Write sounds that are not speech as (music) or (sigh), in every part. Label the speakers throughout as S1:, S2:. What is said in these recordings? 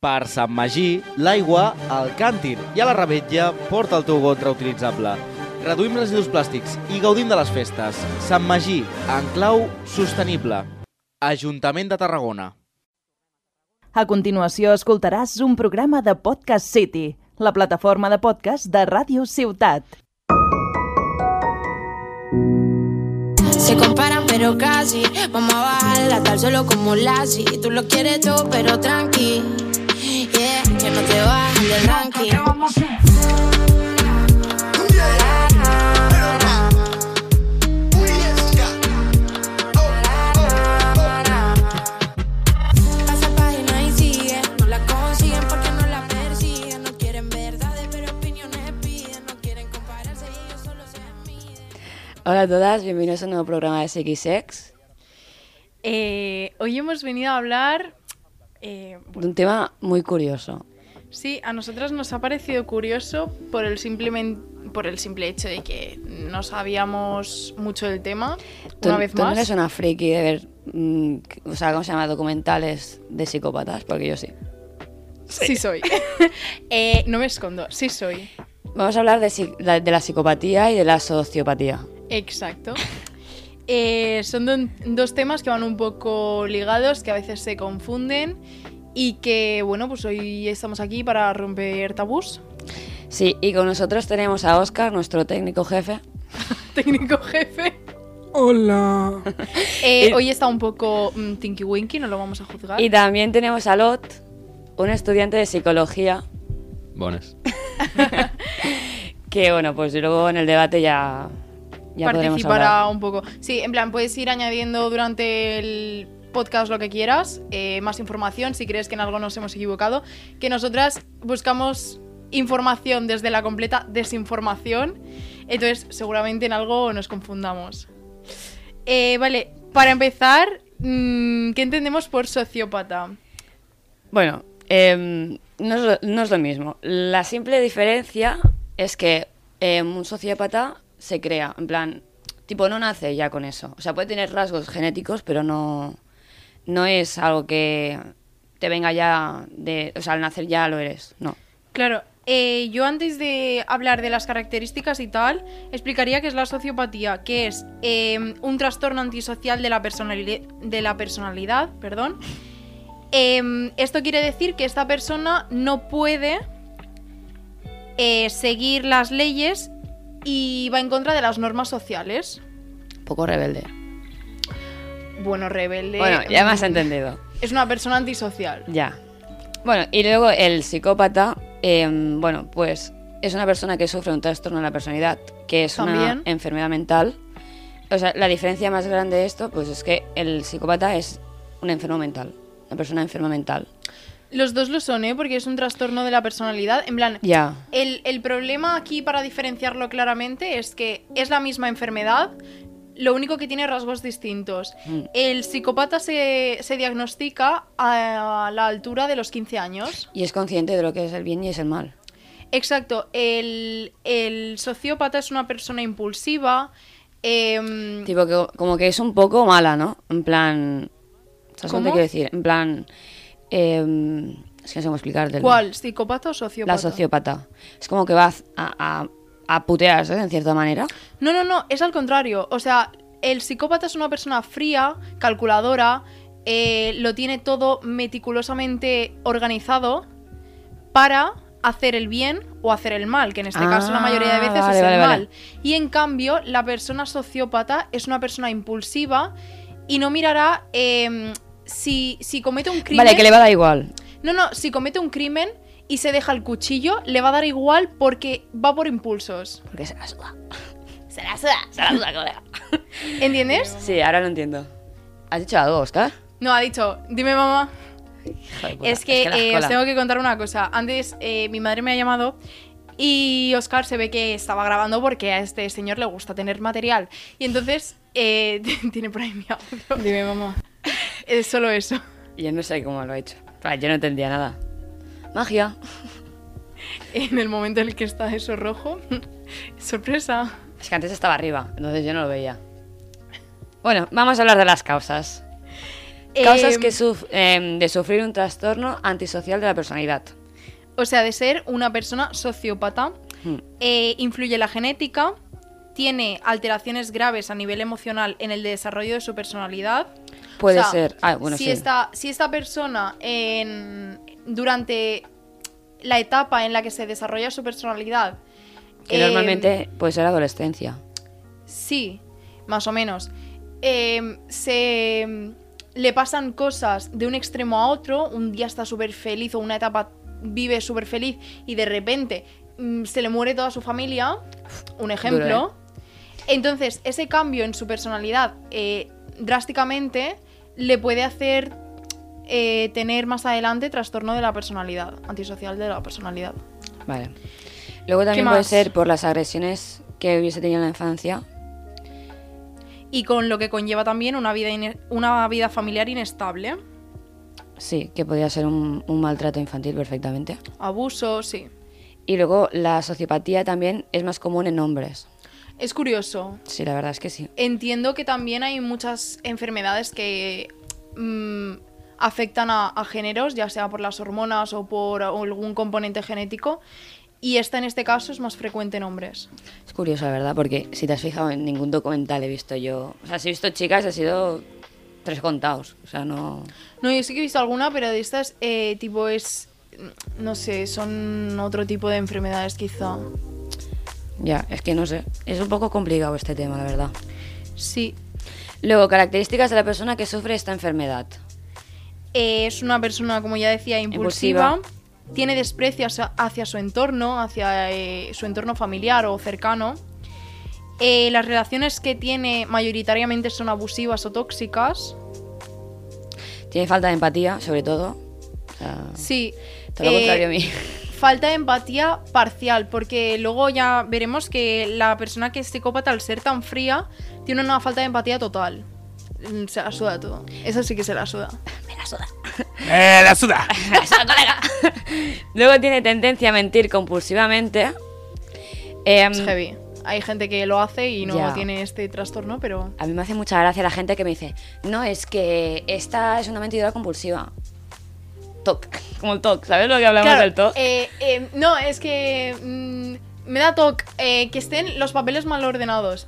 S1: Per Sant Magí, l'aigua al càntir i a la rebetlla porta el teu got reutilitzable. Reduïm residus plàstics i gaudim de les festes. Sant Magí, en clau sostenible. Ajuntament de Tarragona.
S2: A continuació escoltaràs un programa de Podcast City, la plataforma de podcast de Ràdio Ciutat.
S3: Se comparan pero casi, vamos a bajarla tal solo como Lassie. Tú lo quieres todo pero tranqui, yeah, que no te bajes del ranking. Pasa página y sigue, no la consiguen porque no la persiguen. No quieren verdades pero opiniones piden, no quieren compararse y ellos solo se miden.
S4: Hola a todas, bienvenidos a un nuevo programa de SXX,
S5: Eh, hoy hemos venido a hablar. eh,
S4: de un tema muy curioso.
S5: sí, a nosotras nos ha parecido curioso por el, simplemen- por el simple hecho de que no sabíamos mucho del tema.
S4: Tú-
S5: una vez
S4: tú no
S5: más.
S4: eres una friki de ver, mm, o sea, ¿cómo se llama? Documentales de psicópatas, porque yo sí. (laughs)
S5: Sí, soy. Eh, no me escondo, sí soy.
S4: Vamos a hablar de, psi- la- de la psicopatía y de la sociopatía.
S5: Exacto. Eh, son don- dos temas que van un poco ligados, que a veces se confunden y que, bueno, pues hoy estamos aquí para romper tabús.
S4: Sí, y con nosotros tenemos a Oscar, nuestro técnico jefe.
S5: Técnico jefe.
S6: Hola.
S5: (laughs) Eh,
S4: Y-
S5: hoy está un poco mm, tinky winky, no lo vamos a juzgar.
S4: Y también tenemos a Lot, un estudiante de psicología,
S7: Bones.
S4: (laughs) que bueno, pues luego en el debate ya, ya podremos
S5: participará
S4: hablar.
S5: un poco. Sí, en plan, puedes ir añadiendo durante el podcast lo que quieras, eh, más información si crees que en algo nos hemos equivocado, que nosotras buscamos información desde la completa desinformación, entonces seguramente en algo nos confundamos. Eh, vale, para empezar, mm, ¿qué entendemos por sociópata?
S4: Bueno, em, no, es lo, no es lo mismo. La simple diferencia es que em, un sociópata se crea, en plan, tipo, no nace ya con eso. O sea, puede tener rasgos genéticos, pero no, no es algo que te venga ya de... O sea, al nacer ya lo eres, no.
S5: Claro, eh, yo antes de hablar de las características y tal, explicaría qué es la sociopatía, que es eh, un trastorno antisocial de la, personali- de la personalidad. Perdón. Eh, esto quiere decir que esta persona no puede eh, seguir las leyes y va en contra de las normas sociales.
S4: Un poco rebelde.
S5: Bueno, rebelde.
S4: bueno, ya me has
S5: mm,
S4: entendido.
S5: (laughs) Es una persona antisocial.
S4: Ya. Bueno, y luego el psicópata, em, bueno, pues es una persona que sufre un trastorno de la personalidad, que es
S5: También.
S4: una enfermedad mental. O sea, la diferencia más grande de esto, pues es que el psicópata es un enfermo mental, una persona enferma mental.
S5: Los dos lo son, ¿eh? Porque es un trastorno de la personalidad. En plan,
S4: Ya.
S5: El, el problema aquí, para diferenciarlo claramente, es que es la misma enfermedad, lo único que tiene rasgos distintos.
S4: Mm.
S5: El psicópata se, se diagnostica a la altura de los 15 años.
S4: Y es consciente de lo que es el bien y es el mal.
S5: Exacto, el, el sociópata es una persona impulsiva. em,
S4: Tipo, que, como que es un poco mala, ¿no? En plan... ¿Sabes lo que
S5: ¿Cómo?
S4: te quiero decir? En plan... em, es que no sé cómo explicártelo.
S5: ¿Cuál? ¿Psicópata o sociópata?
S4: La sociópata. Es como que va a, a, a putearse, en cierta manera.
S5: No, no, no, es al contrario. O sea, el psicópata es una persona fría, calculadora, eh, lo tiene todo meticulosamente organizado para hacer el bien o hacer el mal, que en este
S4: Ah,
S5: caso la mayoría de veces
S4: vale,
S5: es el
S4: vale, vale.
S5: mal. Y en cambio, la persona sociópata es una persona impulsiva y no mirará eh, si, si comete un crimen.
S4: Vale, que le va a dar igual.
S5: No, no, si comete un crimen y se deja el cuchillo, le va a dar igual porque va por impulsos.
S4: Porque se la suda.
S5: Se la suda, se la suda, colega. ¿Entiendes?
S4: Sí, ahora lo entiendo. ¿Has dicho algo, Oscar?
S5: No, ha dicho, dime mamá.
S4: Joder, puta,
S5: Es que,
S4: la
S5: eh, os
S4: escuela.
S5: tengo que contar una cosa. Antes eh, mi madre me ha llamado y Oscar se ve que estaba grabando porque a este señor le gusta tener material. Y entonces eh, (laughs) tiene por ahí mi audio. Dime mamá. (laughs) Es solo eso.
S4: Yo no sé cómo lo he hecho. Claro, Yo no entendía nada. Magia.
S5: En el momento en el que está eso rojo. (laughs) Sorpresa.
S4: Es que antes estaba arriba, entonces yo no lo veía. Bueno, vamos a hablar de las causas. Causas
S5: Em,
S4: que suf- em, de sufrir un trastorno antisocial de la personalidad.
S5: O sea, de ser una persona sociópata,
S4: Mm.
S5: eh, influye la genética, tiene alteraciones graves a nivel emocional en el desarrollo de su personalidad.
S4: Puede
S5: O sea,
S4: ser. Ah, bueno,
S5: si,
S4: sí.
S5: Esta, si esta persona en- durante la etapa en la que se desarrolla su personalidad...
S4: Que
S5: eh,
S4: normalmente puede ser adolescencia.
S5: Sí, más o menos. Eh, se em, le pasan cosas de un extremo a otro, un día está súper feliz o una etapa vive súper feliz y de repente mm, se le muere toda su familia, un ejemplo. Entonces, ese cambio en su personalidad eh, drásticamente le puede hacer eh, tener más adelante trastorno de la personalidad, antisocial de la personalidad.
S4: Vale. Luego también puede
S5: más?
S4: ser por las agresiones que hubiese tenido en la infancia.
S5: Y con lo que conlleva también una vida, ine- una vida familiar inestable.
S4: Sí, que podría ser un, un maltrato infantil perfectamente.
S5: Abuso, sí.
S4: Y luego la sociopatía también es más común en hombres.
S5: Es curioso.
S4: Sí, la verdad es que sí.
S5: Entiendo que también hay muchas enfermedades que mm, afectan a, a géneros, ya sea por las hormonas o por algún componente genético. Y esta en este caso es más frecuente en hombres.
S4: Es curioso, la verdad, porque si te has fijado en ningún documental he visto yo. O sea, si he visto chicas, ha sido tres contados. O sea, no.
S5: No, yo sí que he visto alguna, pero de estas, eh, tipo, es. mm, No sé, son otro tipo de enfermedades quizá.
S4: Ya, es que no sé. Es un poco complicado este tema, la verdad.
S5: Sí.
S4: Luego, características de la persona que sufre esta enfermedad.
S5: Eh, es una persona, como ya decía, impulsiva.
S4: Impulsiva.
S5: Tiene desprecio hacia, hacia su entorno, hacia eh, su entorno familiar o cercano. Eh, las relaciones que tiene mayoritariamente son abusivas o tóxicas.
S4: Tiene falta de empatía, sobre todo. O sea,
S5: Sí.
S4: todo lo
S5: eh,
S4: contrario a mí.
S5: Falta de empatía parcial, porque luego ya veremos que la persona que es psicópata, al ser tan fría, tiene una falta de empatía total. Mm, Se la suda todo. Eso sí que se la suda.
S6: ¡Eh, la suda!
S4: Luego tiene tendencia a mentir compulsivamente. Em,
S5: Es heavy. Hay gente que lo hace y no
S4: Ya.
S5: tiene este trastorno, pero.
S4: a mí me hace mucha gracia la gente que me dice, no, es que esta es una mentidora compulsiva. TOC, (laughs) como el TOC, ¿sabes lo que hablamos
S5: Claro,
S4: del TOC?
S5: eh, eh, no, es que mm, me da toque eh, que estén los papeles mal ordenados.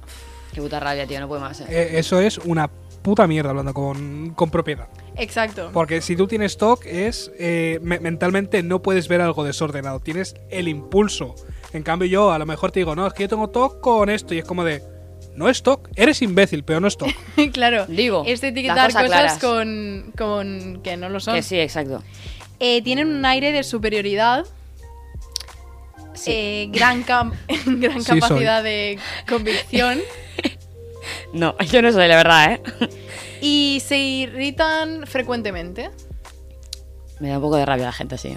S4: Qué puta rabia, tío, no puedo más. eh.
S6: Eh, eso es una puta mierda hablando con, con propiedad.
S5: Exacto.
S6: Porque si tú tienes TOC es eh, me- mentalmente no puedes ver algo desordenado, tienes el impulso. En cambio yo a lo mejor te digo, no, es que yo tengo TOC con esto y es como de, no es TOC, eres imbécil, pero no es TOC.
S5: (laughs) claro.
S4: Digo,
S5: Este
S4: las
S5: etiquetar
S4: eh, cosas
S5: cosas
S4: claras.
S5: con, con que no lo son.
S4: Que sí, exacto.
S5: Eh, tienen un aire de superioridad.
S4: Sí.
S5: eh, gran cam- (laughs) gran
S6: Sí, soy.
S5: capacidad de convicción.
S4: No, (laughs) yo no soy, la verdad, ¿eh?
S5: y se irritan frecuentemente.
S4: Me da un poco de rabia la gente así.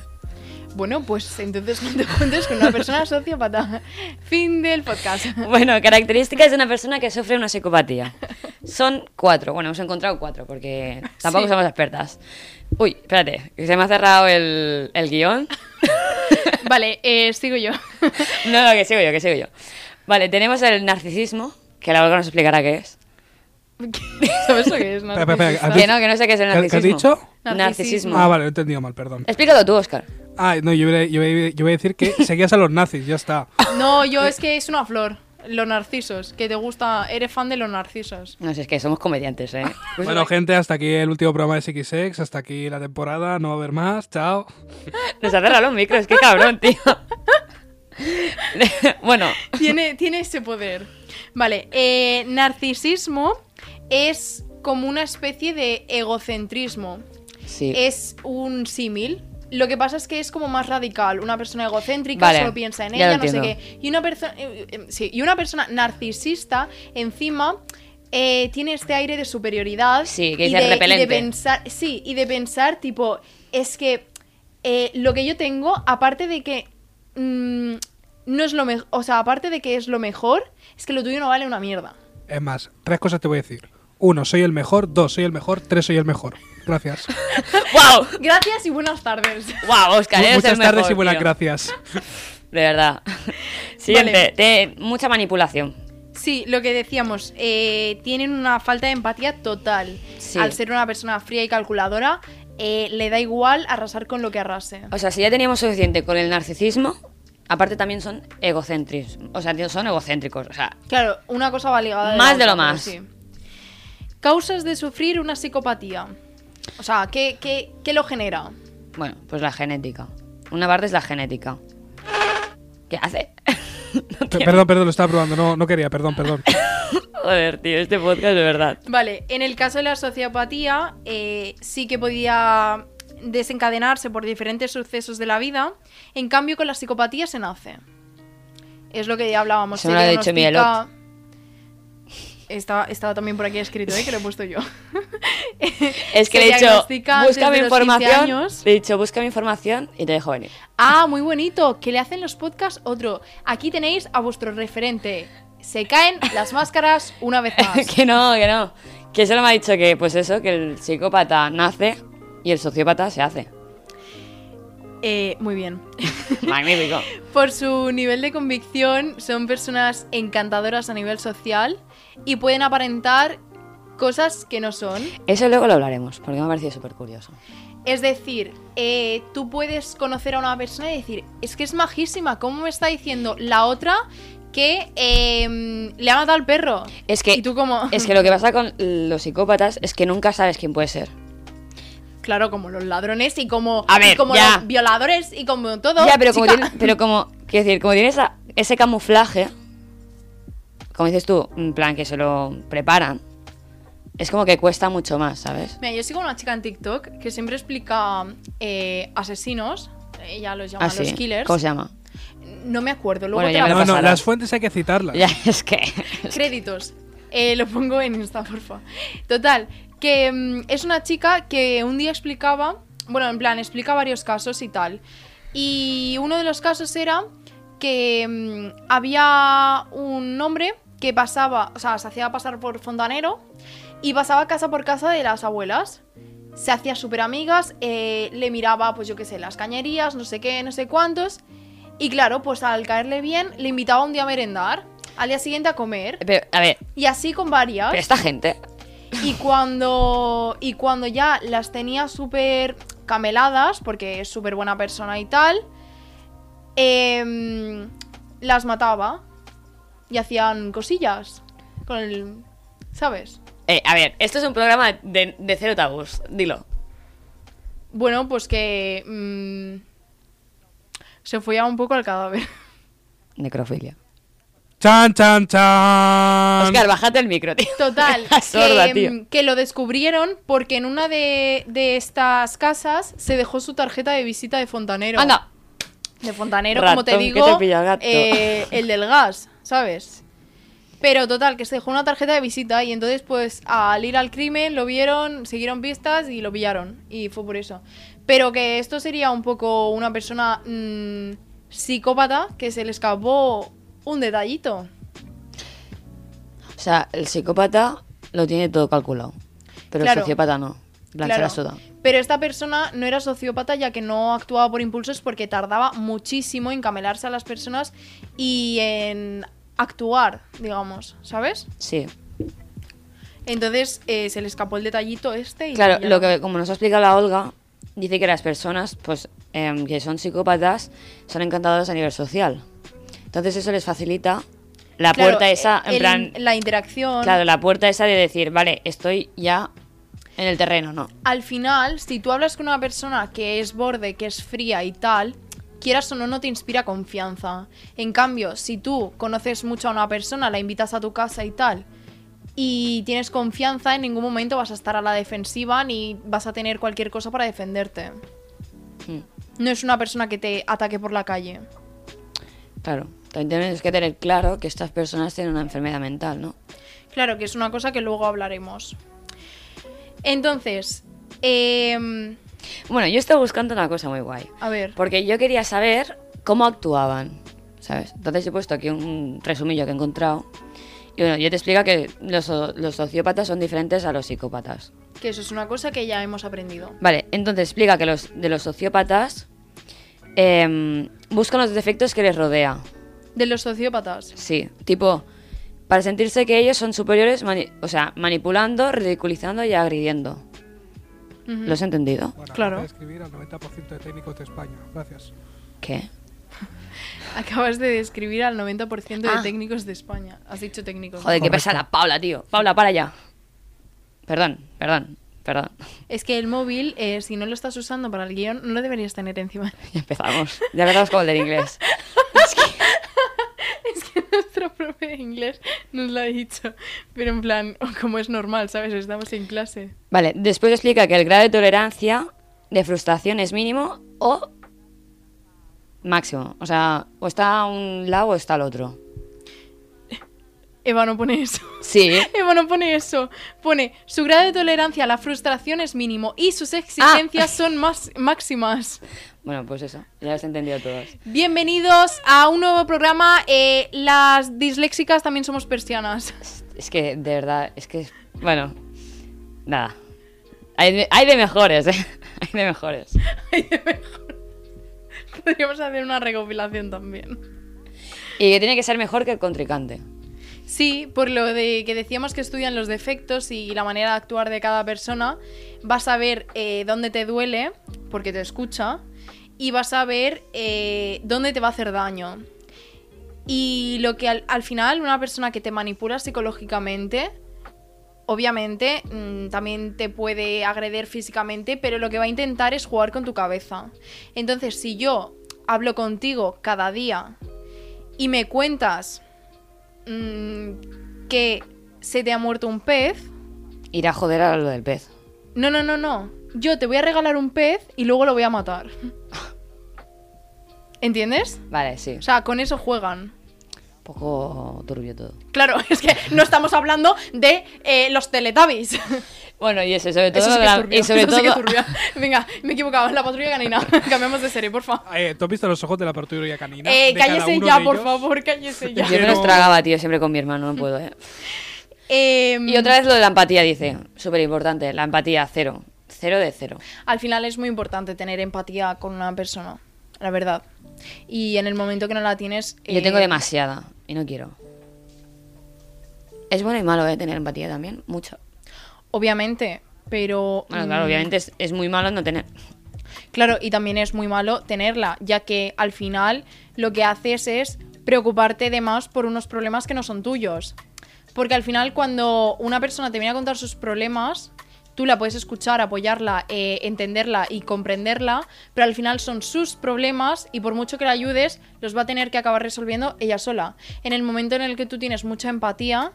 S5: Bueno, pues entonces no te cuentes con una persona sociópata. (laughs) Fin
S4: (laughs)
S5: del podcast.
S4: Bueno, características de una persona que sufre una psicopatía. Son cuatro. Bueno, hemos encontrado cuatro porque tampoco
S5: Sí.
S4: somos expertas. Uy, espérate, que se me ha cerrado el, el guión.
S5: Vale, eh, sigo yo.
S4: No, no, que sigo yo, que sigo yo. Vale, tenemos el narcisismo, que la Olga nos explicará qué es.
S5: (laughs) ¿Sabes lo que es?
S6: Espera, espera, espera,
S5: narcisista?
S4: Que no, que no sé qué es el
S6: ¿Qué- qué has
S4: narcisismo.
S6: dicho?
S4: Narcisismo.
S6: ah, vale, lo he entendido mal, perdón.
S4: Explícalo tú, Oscar.
S6: Ah, no, yo voy, a- yo voy a- yo voy a decir que seguías a los nazis, ya está.
S5: No, yo es que es una flor. Los narcisos, que te gusta, eres fan de los narcisos.
S4: No sé, es que somos comediantes, ¿eh?
S6: Bueno, gente, hasta aquí el último programa de SXX, hasta aquí la temporada, no va a haber más, chao.
S4: Nos ha cerrado los micros, qué cabrón,
S5: (laughs)
S4: tío. bueno,
S5: Tiene, tiene ese poder. Vale, eh, narcisismo es como una especie de egocentrismo.
S4: sí.
S5: Es un símil. Lo que pasa es que es como más radical. Una persona egocéntrica
S4: Vale,
S5: solo piensa en
S4: ya lo
S5: ella, no sé
S4: entiendo.
S5: qué. Y una, persona eh, eh, sí, y una persona narcisista, encima, eh, tiene este aire de superioridad.
S4: Sí, que
S5: y
S4: dice
S5: de- y de
S4: repelente.
S5: pensar, sí, y de pensar, tipo, es que eh, lo que yo tengo, aparte de que mm, no es lo mejor, o sea, aparte de que es lo mejor, es que lo tuyo no vale una mierda.
S6: Es más, tres cosas te voy a decir. Uno, soy el mejor, dos, soy el mejor, tres, soy el mejor.
S5: (laughs)
S6: Gracias.
S4: ¡Wow!
S5: Gracias y buenas tardes.
S4: ¡Wow, Oscar!
S6: Mu-
S4: eres
S6: Muchas
S4: el
S6: tardes
S4: mejor,
S6: y
S5: (laughs)
S6: buenas
S4: tío.
S6: gracias.
S4: De verdad. Siguiente, te- mucha manipulación.
S5: Sí, lo que decíamos, eh, tienen una falta de empatía total.
S4: Sí.
S5: Al ser una persona fría y calculadora, eh, le da igual arrasar con lo que arrase.
S4: O sea, si ya teníamos suficiente con el narcisismo, aparte también son egocéntricos. O sea, tío, son egocéntricos. O sea,
S5: Claro, una cosa va ligada. a la
S4: Más de lo
S5: otra,
S4: más.
S5: sí. Causas de sufrir una psicopatía. O sea, ¿qué, qué, qué lo genera?
S4: bueno, pues la genética. Una parte es la genética. ¿Qué hace? (laughs) No
S6: Pe-
S4: tiene-
S6: Perdón, perdón, lo estaba probando. No, no quería, perdón,
S5: (laughs)
S6: perdón.
S4: Joder, tío, este podcast de verdad.
S5: Vale, en el caso de la sociopatía, eh, sí que podía desencadenarse por diferentes sucesos de la vida. En cambio, con la psicopatía se nace. Es lo que ya hablábamos.
S4: Eso me lo ha dicho
S5: diagnostica-
S4: Miguelot.
S5: Estaba, estaba también por aquí escrito, ¿eh? que lo he
S4: (laughs)
S5: puesto yo.
S4: Es que
S5: Se
S4: le he dicho,
S5: diagnostica antes
S4: búscame
S5: de los 15
S4: información.
S5: años.
S4: Le he dicho, búscame información y te dejo venir.
S5: Ah, muy bonito. Que le hacen los podcasts otro. Aquí tenéis a vuestro referente. Se caen las máscaras
S4: (laughs)
S5: una vez más.
S4: que no, que no. Que solo me ha dicho que, pues eso, que el psicópata nace y el sociópata se
S5: (laughs)
S4: hace.
S5: Eh, muy bien.
S4: Magnífico.
S5: Por su nivel de convicción, son personas encantadoras a nivel social y pueden aparentar cosas que no son.
S4: Eso luego lo hablaremos, porque me ha parecido súper curioso.
S5: Es decir, eh, tú puedes conocer a una persona y decir, es que es majísima, ¿cómo me está diciendo la otra que eh, le ha matado al perro?
S4: Es que,
S5: ¿Y tú cómo?
S4: es que lo que pasa con los psicópatas es que nunca sabes quién puede ser.
S5: (laughs) Claro, como los ladrones y como,
S4: A ver,
S5: y como
S4: ya.
S5: los violadores y como todo.
S4: ya, pero como,
S5: chica.
S4: tiene, pero como, quiero decir, como tiene esa- ese camuflaje, como dices tú, en plan que se lo preparan, es como que cuesta mucho más, ¿sabes?
S5: (laughs) Mira, yo sigo una chica en TikTok que siempre explica eh, asesinos, ella los llama
S4: Así.
S5: los killers.
S4: ¿Cómo se llama?
S5: No me acuerdo, luego
S4: Bueno,
S5: te
S4: ya
S5: la
S4: me lo
S6: No, no,
S4: pasarás.
S6: las fuentes hay que citarlas.
S4: Ya, (laughs) es que...
S5: (laughs) Créditos. Eh, lo pongo en Insta, porfa. Total, que mm, es una chica que un día explicaba, bueno, en plan, explica varios casos y tal. Y uno de los casos era que mm, había un hombre que pasaba, o sea, se hacía pasar por fontanero y pasaba casa por casa de las abuelas. Se hacía súper amigas, le miraba, pues yo qué sé, las cañerías, no sé qué, no sé cuántos. Y claro, pues al caerle bien, le invitaba un día a merendar, al día siguiente a comer,
S4: Pero, a ver,
S5: y así con varias.
S4: pero esta gente...
S5: Y cuando, y cuando ya las tenía súper cameladas, porque es súper buena persona y tal, em, las mataba y hacían cosillas con el... ¿Sabes?
S4: Eh, a ver, esto es un programa de, de cero tabús, dilo.
S5: Bueno, pues que... mm, se follaba un poco al cadáver.
S4: Necrofilia.
S6: Chan, chan, chan.
S4: Oscar, bájate el micro, tío.
S5: (laughs) (laughs) Total,
S4: La sorda,
S5: que,
S4: tío.
S5: mm, que lo descubrieron porque en una de, de estas casas se dejó su tarjeta de visita de fontanero.
S4: Anda.
S5: De fontanero, como te
S4: Ratón que
S5: digo,
S4: te pilla el gato.
S5: eh, el del gas, ¿sabes? Pero total, que se dejó una tarjeta de visita y entonces pues al ir al crimen lo vieron, siguieron pistas y lo pillaron. Y fue por eso. Pero que esto sería un poco una persona mm, psicópata que se le escapó un detallito.
S4: O sea, el psicópata lo tiene todo calculado. Pero
S5: Claro.
S4: el sociópata no. La
S5: Claro.
S4: la suda.
S5: Pero esta persona no era sociópata ya que no actuaba por impulsos porque tardaba muchísimo en camelarse a las personas y en actuar, digamos, ¿sabes?
S4: Sí.
S5: Entonces eh, se le escapó el detallito este y
S4: Claro,
S5: ya.
S4: lo que como nos ha explicado la Olga, dice que las personas, pues, em, que son psicópatas, son encantadoras a nivel social. Entonces eso les facilita la
S5: Claro, eh,
S4: puerta esa, en
S5: el-
S4: plan,
S5: la interacción.
S4: claro, la puerta esa de decir, vale, estoy ya en el terreno, ¿no?
S5: Al final, si tú hablas con una persona que es borde, que es fría y tal, quieras o no, no te inspira confianza. En cambio, si tú conoces mucho a una persona, la invitas a tu casa y tal, y tienes confianza, en ningún momento vas a estar a la defensiva ni vas a tener cualquier cosa para defenderte.
S4: Mm,
S5: No es una persona que te ataque por la calle.
S4: Claro. También tienes que tener claro que estas personas tienen una enfermedad mental, ¿no?
S5: Claro, que es una cosa que luego hablaremos. Entonces, em,
S4: Bueno, yo estaba buscando una cosa muy guay.
S5: a ver.
S4: Porque yo quería saber cómo actuaban, ¿sabes? Entonces he puesto aquí un resumillo que he encontrado. Y bueno, yo te explica que los, so- los sociópatas son diferentes a los psicópatas.
S5: Que eso es una cosa que ya hemos aprendido.
S4: Vale, entonces explica que los de los sociópatas em, buscan los defectos que les rodea.
S5: De los sociópatas.
S4: Sí, tipo, para sentirse que ellos son superiores, mani- o sea, manipulando, ridiculizando y agrediendo.
S5: Ujú.
S4: ¿Lo has entendido?
S6: Bueno,
S5: Claro.
S6: voy a escribir al 90% de técnicos de España. Gracias.
S4: ¿Qué?
S5: (laughs) Acabas de describir al 90% de
S4: Ah.
S5: técnicos de España. Has dicho técnicos.
S4: Joder, qué
S6: Correcto.
S4: pesada, Paula, tío. Paula, para ya. Perdón, perdón, perdón. (laughs)
S5: Es que el móvil, eh, si no lo estás usando para el guión, no lo deberías tener encima. (laughs)
S4: Ya empezamos. Ya empezamos con el del inglés.
S5: es que nuestro profe de inglés nos lo ha dicho. Pero en plan, (laughs) como es normal, ¿sabes? Estamos en clase.
S4: Vale, después explica que el grado de tolerancia de frustración es mínimo o máximo. O sea, o está a un lado o está al otro.
S5: Eva no pone eso.
S4: Sí.
S5: (laughs) Eva no Eh, pone eso. Pone, su grado de tolerancia a la frustración es mínimo y sus exigencias son más máximas.
S4: Bueno, pues eso. Ya lo has entendido todos.
S5: Bienvenidos a un nuevo programa. eh, las disléxicas también somos persianas. (laughs)
S4: Es- Es que, de verdad, es que. Bueno, nada. Hay de, hay de mejores, ¿eh? (laughs) Hay de mejores.
S5: Podríamos hacer una recopilación también.
S4: Y que tiene que ser mejor que el contrincante.
S5: Sí, por lo de que decíamos que estudian los defectos y la manera de actuar de cada persona, vas a ver eh, dónde te duele, porque te escucha, y vas a ver eh, dónde te va a hacer daño. Y lo que al, al final una persona que te manipula psicológicamente, obviamente mm, también te puede agredir físicamente, pero lo que va a intentar es jugar con tu cabeza. Entonces, si yo hablo contigo cada día y me cuentas mm, que se te ha muerto un pez,
S4: Ir a joder a lo del pez.
S5: no, no, no, no. Yo te voy a regalar un pez y luego lo voy a matar. (laughs) ¿Entiendes?
S4: Vale, sí.
S5: O sea, con eso juegan.
S4: Un poco turbio todo.
S5: Claro, (laughs) es que no estamos hablando de eh, los Teletubbies.
S4: Bueno, y eso, sobre todo.
S5: (laughs) Eso sí que
S4: la-
S5: es turbio.
S4: y sobre
S5: (laughs) eso
S4: todo.
S5: sí que es turbio. Venga, me he equivocado. La patrulla canina. (laughs) Cambiamos de serie, por favor.
S6: Eh, ¿Tú has visto los ojos de la patrulla canina?
S5: Eh,
S6: De cada
S5: cállese
S6: uno
S5: ya,
S6: de
S5: por
S6: ellos.
S5: favor, (laughs) cállese ya.
S6: (laughs)
S4: Yo me los
S6: Pero-
S4: tragaba, tío, siempre con mi hermano, no puedo, ¿eh?
S5: Eh,
S4: Y otra vez lo de la empatía, dice. Súper importante. La empatía, cero. Cero de cero.
S5: Al final es muy importante tener empatía con una persona, la verdad. Y en el momento que no la tienes.
S4: Yo
S5: eh,
S4: tengo demasiada y no quiero. Es bueno y malo, ¿eh? Tener empatía también. Mucho.
S5: Obviamente, pero.
S4: Bueno, claro,
S5: mm,
S4: obviamente es, es muy malo no tener.
S5: Claro, y también es muy malo tenerla, ya que al final lo que haces es preocuparte de más por unos problemas que no son tuyos. Porque al final cuando una persona te viene a contar sus problemas, tú la puedes escuchar, apoyarla, eh, entenderla y comprenderla, pero al final son sus problemas y por mucho que la ayudes, los va a tener que acabar resolviendo ella sola. En el momento en el que tú tienes mucha empatía,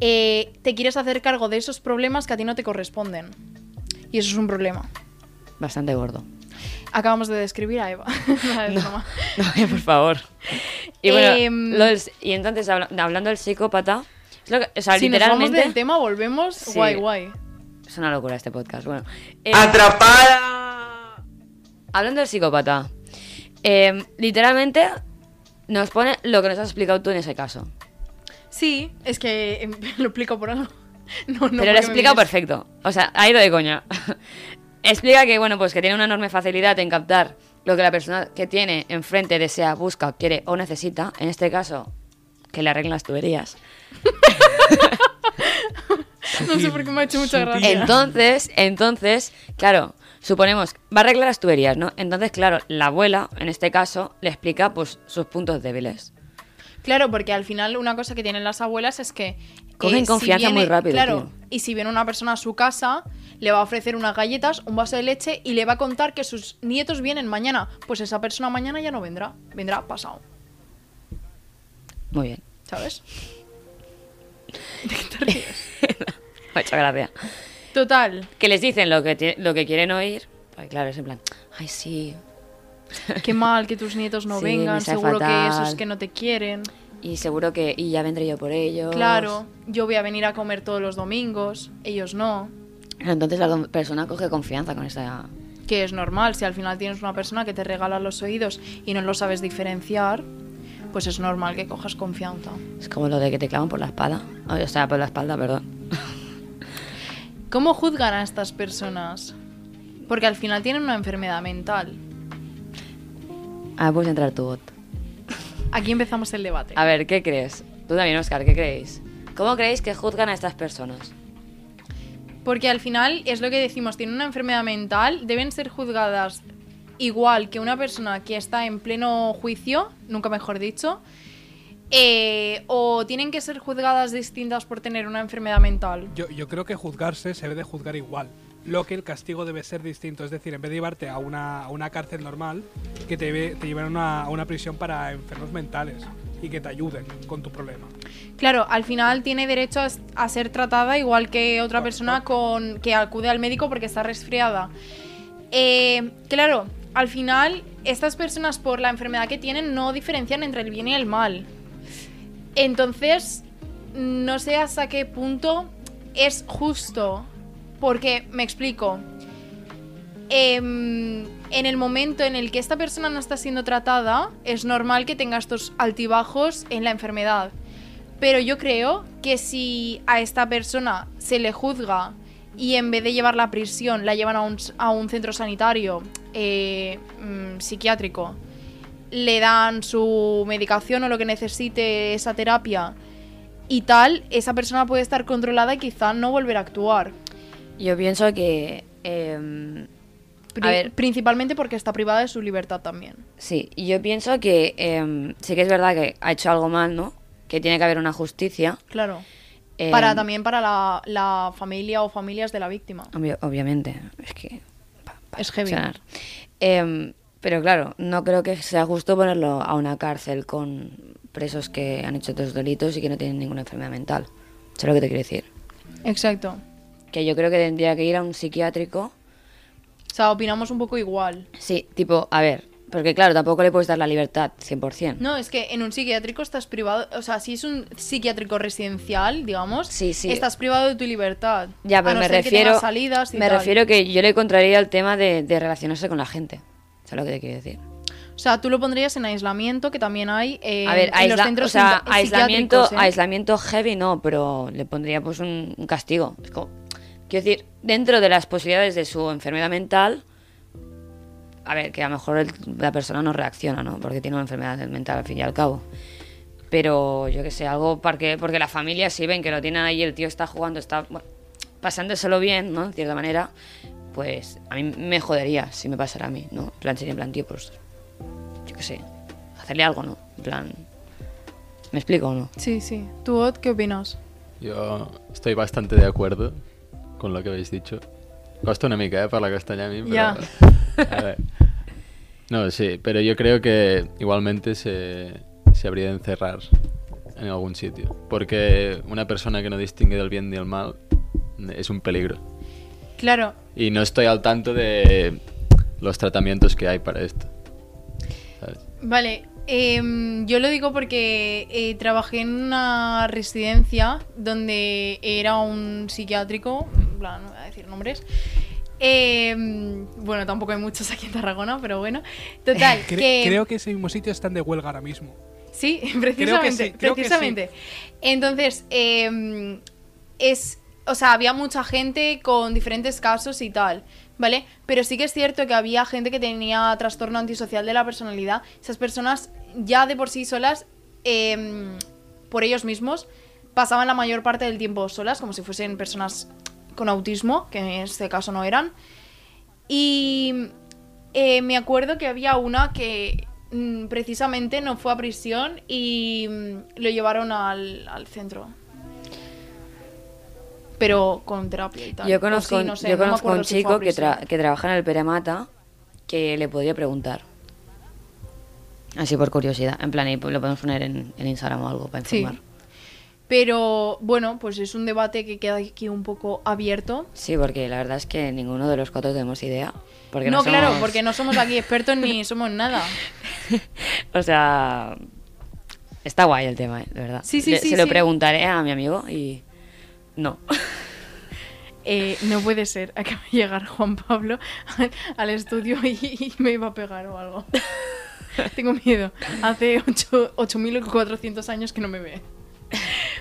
S5: eh, te quieres hacer cargo de esos problemas que a ti no te corresponden. Y eso es un problema.
S4: Bastante
S5: (laughs)
S4: gordo.
S5: Acabamos de describir
S4: (laughs)
S5: a Eva. (laughs) No, es broma.
S4: No, eh, por favor. Y bueno,
S5: Em,
S4: lo del- y entonces habla- hablando del psicópata, es lo que- o sea,
S5: si nos vamos
S4: literalmente
S5: del tema, volvemos.
S4: Sí.
S5: Guay, guay.
S4: es una locura este podcast. Bueno, eh,
S7: ¡Atrapada!
S4: hablando del psicópata, em, literalmente nos pone lo que nos has explicado tú en ese caso.
S5: Sí, es que em, (laughs) lo explico por algo. No, no,
S4: Pero lo
S5: porque me
S4: explica
S5: mires.
S4: perfecto. O sea, ha ido de coña. (laughs) explica que, bueno, pues que tiene una enorme facilidad en captar lo que la persona que tiene enfrente desea, busca, quiere o necesita. En este caso, que le arreglen las tuberías.
S5: No sé por qué me ha hecho mucha
S6: Sutil.
S5: gracia.
S4: Entonces, entonces, claro, suponemos, va a arreglar las tuberías, ¿no? Entonces, claro, la abuela, en este caso, le explica pues sus puntos débiles.
S5: Claro, porque al final una cosa que tienen las abuelas es que... eh,
S4: Cogen confianza muy rápido,
S5: Claro,
S4: tío.
S5: y si viene una persona a su casa, le va a ofrecer unas galletas, un vaso de leche y le va a contar que sus nietos vienen mañana. Pues esa persona mañana ya no vendrá, vendrá pasado,
S4: Muy bien.
S5: ¿sabes?
S4: Muchas gracias.
S5: Total,
S4: Que les dicen lo que, ti- lo que quieren oír. Pues claro, es en plan, ay, sí.
S5: qué mal que tus nietos
S4: (laughs)
S5: no
S4: Sí, me
S5: vengan,
S4: sabe
S5: seguro que
S4: fatal.
S5: esos que no te quieren.
S4: Y seguro que, y ya vendré yo por ellos.
S5: Claro, yo voy a venir a comer todos los domingos, ellos no.
S4: Entonces la con- persona coge confianza con esta...
S5: Que es normal, si al final tienes una persona que te regala los oídos y no lo sabes diferenciar, pues es normal que cojas confianza.
S4: Es como lo de que te clavan por la espada. Ay, O sea, por la espalda, perdón.
S5: ¿Cómo juzgan a estas personas? Porque al final tienen una enfermedad mental.
S4: Ah, puedes entrar tu bot.
S5: Aquí empezamos el debate.
S4: A ver, ¿qué crees? Tú también, Oscar, ¿qué creéis? ¿Cómo creéis que juzgan a estas personas?
S5: Porque al final es lo que decimos, tienen una enfermedad mental, deben ser juzgadas igual que una persona que está en pleno juicio, nunca mejor dicho, eh, o tienen que ser juzgadas distintas por tener una enfermedad mental.
S6: Yo, yo creo que juzgarse se debe de juzgar igual. Lo que el castigo debe ser distinto. Es decir, en vez de llevarte a una, a una cárcel normal, que te, lleve- te lleven a una, a una prisión para enfermos mentales y que te ayuden con tu problema.
S5: Claro, al final tiene derecho a, s- a ser tratada igual que otra persona con, que acude al médico porque está resfriada. Eh, claro, al final estas personas por la enfermedad que tienen no diferencian entre el bien y el mal. Entonces, no sé hasta qué punto es justo, porque me explico. Em, en el momento en el que esta persona no está siendo tratada, es normal que tenga estos altibajos en la enfermedad. Pero yo creo que si a esta persona se le juzga y en vez de llevarla a prisión, la llevan a un, s- a un centro sanitario eh, mm, psiquiátrico, le dan su medicación o lo que necesite esa terapia y tal, esa persona puede estar controlada y quizá no volver a actuar.
S4: Yo pienso que... em,
S5: Pri-
S4: A ver.
S5: Principalmente porque está privada de su libertad también.
S4: Sí, y yo pienso que em, sí que es verdad que ha hecho algo mal, ¿no? Que tiene que haber una justicia.
S5: Claro.
S4: em,
S5: para también para la, la familia o familias de la víctima.
S4: obvio- obviamente, es que... pa- pa-
S5: Es heavy.
S4: sonar. Em, pero claro, no creo que sea justo ponerlo a una cárcel con presos que han hecho otros delitos y que no tienen ninguna enfermedad mental. Eso es lo que te quiero decir.
S5: Exacto.
S4: Que yo creo que tendría que ir a un psiquiátrico
S5: O sea, opinamos un poco igual.
S4: Sí, tipo, a ver, porque claro, tampoco le puedes dar la libertad 100%.
S5: No, es que en un psiquiátrico estás privado, o sea, si es un psiquiátrico residencial, digamos,
S4: Sí, sí.
S5: estás privado de tu libertad.
S4: Ya, pero
S5: A no
S4: me
S5: ser que tengas
S4: refiero
S5: salidas y
S4: me
S5: tal.
S4: refiero que yo le contraría el tema de, de relacionarse con la gente. Eso es lo que te quiero decir.
S5: O sea, tú lo pondrías en aislamiento, que también hay eh,
S4: a ver,
S5: en los
S4: aisla-
S5: centros
S4: o sea,
S5: psiqui-
S4: aislamiento,
S5: psiquiátricos, ¿eh?
S4: aislamiento heavy no, pero le pondría pues un, un castigo. Es como- quiero decir, dentro de las posibilidades de su enfermedad mental, a ver, que a lo mejor el- la persona no reacciona, ¿no? Porque tiene una enfermedad mental al fin y al cabo. Pero yo que sé, algo porque, porque la familia si ven que lo tienen ahí, el tío está jugando, está bueno, pasándoselo bien, ¿no? De cierta manera, pues a mí me jodería si me pasara a mí, ¿no? En plan, sería en plan, tío, pues yo qué sé, hacerle algo, ¿no? En plan, ¿me explico o no?
S5: Sí, sí. ¿Tú, Ot, qué opinas?
S8: Jo estic bastante de acuerdo con lo que habéis dicho. Costa una mica, eh, parlar castellà a mí, pero...
S5: Ya.
S8: A ver. No, sí, pero yo creo que igualmente se, se habría de encerrar en algún sitio. Porque una persona que no distingue del bien ni del mal es un peligro.
S5: Claro,
S8: Y no estoy al tanto de los tratamientos que hay para esto. ¿sabes?
S5: Vale, em, yo lo digo porque eh, trabajé en una residencia donde era un psiquiátrico, en plan, no voy a decir nombres. Em, bueno, tampoco hay muchos aquí en Tarragona, pero bueno. Total,
S6: (laughs) Cre-
S5: que...
S6: Creo que ese mismo sitio está en de huelga ahora mismo.
S5: Sí, (laughs)
S6: Creo que
S5: precisamente,
S6: sí, creo que sí.
S5: precisamente. Entonces, eh, es, o sea, había mucha gente con diferentes casos y tal, ¿vale? Pero sí que es cierto que había gente que tenía trastorno antisocial de la personalidad. Esas personas ya de por sí solas, eh, por ellos mismos, pasaban la mayor parte del tiempo solas, como si fuesen personas con autismo, que en este caso no eran. Y eh, me acuerdo que había una que mm, precisamente no fue a prisión y mm, lo llevaron al, al centro. Pero con terapia y tal.
S4: Yo
S5: O
S4: conozco,
S5: sí,
S4: un-
S5: no sé,
S4: yo
S5: no me
S4: conozco
S5: acuerdo
S4: un
S5: si fue a
S4: chico que,
S5: prisión.
S4: tra- que trabaja en el Peremata que le podría preguntar. Así por curiosidad. En plan, y lo podemos poner en, en Instagram o algo para
S5: Sí.
S4: informar.
S5: Pero bueno, pues es un debate que queda aquí un poco abierto.
S4: Sí. porque la verdad es que ninguno de los cuatro tenemos idea. Porque
S5: no, claro,
S4: somos-
S5: porque no somos aquí expertos ni somos nada.
S4: O sea, está guay el tema, ¿eh? de verdad.
S5: Sí, sí,
S4: Le-
S5: sí,
S4: Se lo
S5: sí.
S4: preguntaré a mi amigo y... No.
S5: Eh, no puede ser, acaba de llegar Juan Pablo al estudio y, y me iba a pegar o algo. Tengo miedo. Hace ocho- 8.400 años que no me ve.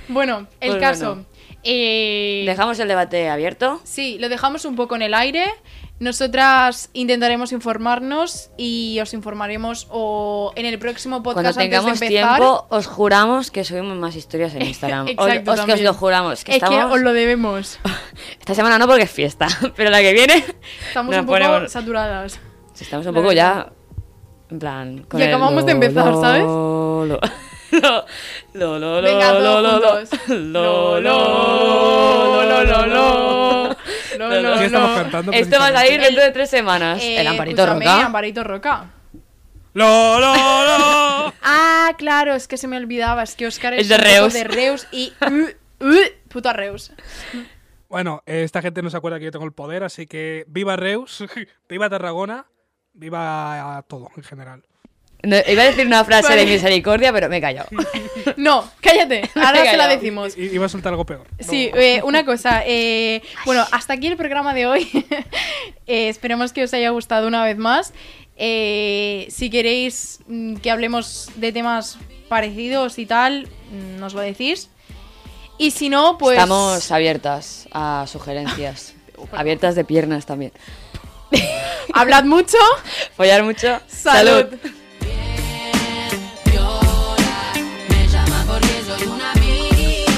S5: Bueno, el
S4: Pues
S5: caso.
S4: bueno.
S5: Eh,
S4: Dejamos el debate abierto.
S5: Sí, lo dejamos un poco en el aire. Nosotras intentaremos informarnos y os informaremos o en el próximo
S4: Cuando
S5: podcast
S4: tengamos
S5: antes de empezar.
S4: tiempo, os juramos que subimos más historias
S5: (laughs)
S4: en Instagram. Os-
S5: Exacto,
S4: os, que os
S5: también.
S4: lo juramos. Que
S5: es
S4: estamos-
S5: que os lo debemos.
S4: Esta semana no porque es fiesta, (laughs) pero la que
S5: (laughs)
S4: viene
S5: Estamos
S4: nos
S5: un poco
S4: ponemos-
S5: saturadas.
S4: estamos un
S5: la
S4: poco
S5: verdad.
S4: ya... En plan...
S5: Y
S4: el
S5: acabamos de empezar, ¿sabes?
S4: Lo, lo, lo, lo, lo,
S5: Venga,
S4: lo,
S5: todos
S4: lo, lo.
S5: juntos.
S4: (laughs) Lo, lo, lo, lo, lo, lo.
S5: No,
S4: Lo,
S5: no,
S4: lo,
S6: ¿Qué estamos
S4: lo.
S6: cantando
S4: Esto va a salir
S5: precisamente?
S4: dentro de tres semanas.
S5: Eh,
S4: el amparito
S5: escúchame,
S4: roca.
S5: Amparito Roca.
S6: ¡Lo, lo, lo!
S5: Ah, claro, es que se me olvidaba, es que Oscar es
S4: El de
S5: un poco
S4: Reus.
S5: de Reus y... uh, uh, puta Reus.
S6: (laughs) Bueno, eh, esta gente no se acuerda que yo tengo el poder, así que viva Reus, (laughs) viva Tarragona, viva a todo en general.
S4: No, iba a decir una frase
S5: (laughs) Vale.
S4: de misericordia, pero me he callado.
S5: No,
S4: (laughs)
S5: cállate, ahora
S4: Venga,
S5: se la
S4: ya.
S5: decimos.
S6: I- Iba a soltar algo peor. No.
S5: Sí, eh, una cosa. eh, bueno, hasta aquí el programa de hoy. (laughs) Eh, esperemos que os haya gustado una vez más. Eh, si queréis mm, que hablemos de temas parecidos y tal, mm, nos lo decís. Y si no, pues...
S4: Estamos abiertas a
S5: (laughs)
S4: sugerencias. abiertas de piernas también.
S5: Hablad mucho.
S4: Follar mucho.
S5: Salud.
S3: Llora, me llama porque soy una businesswoman.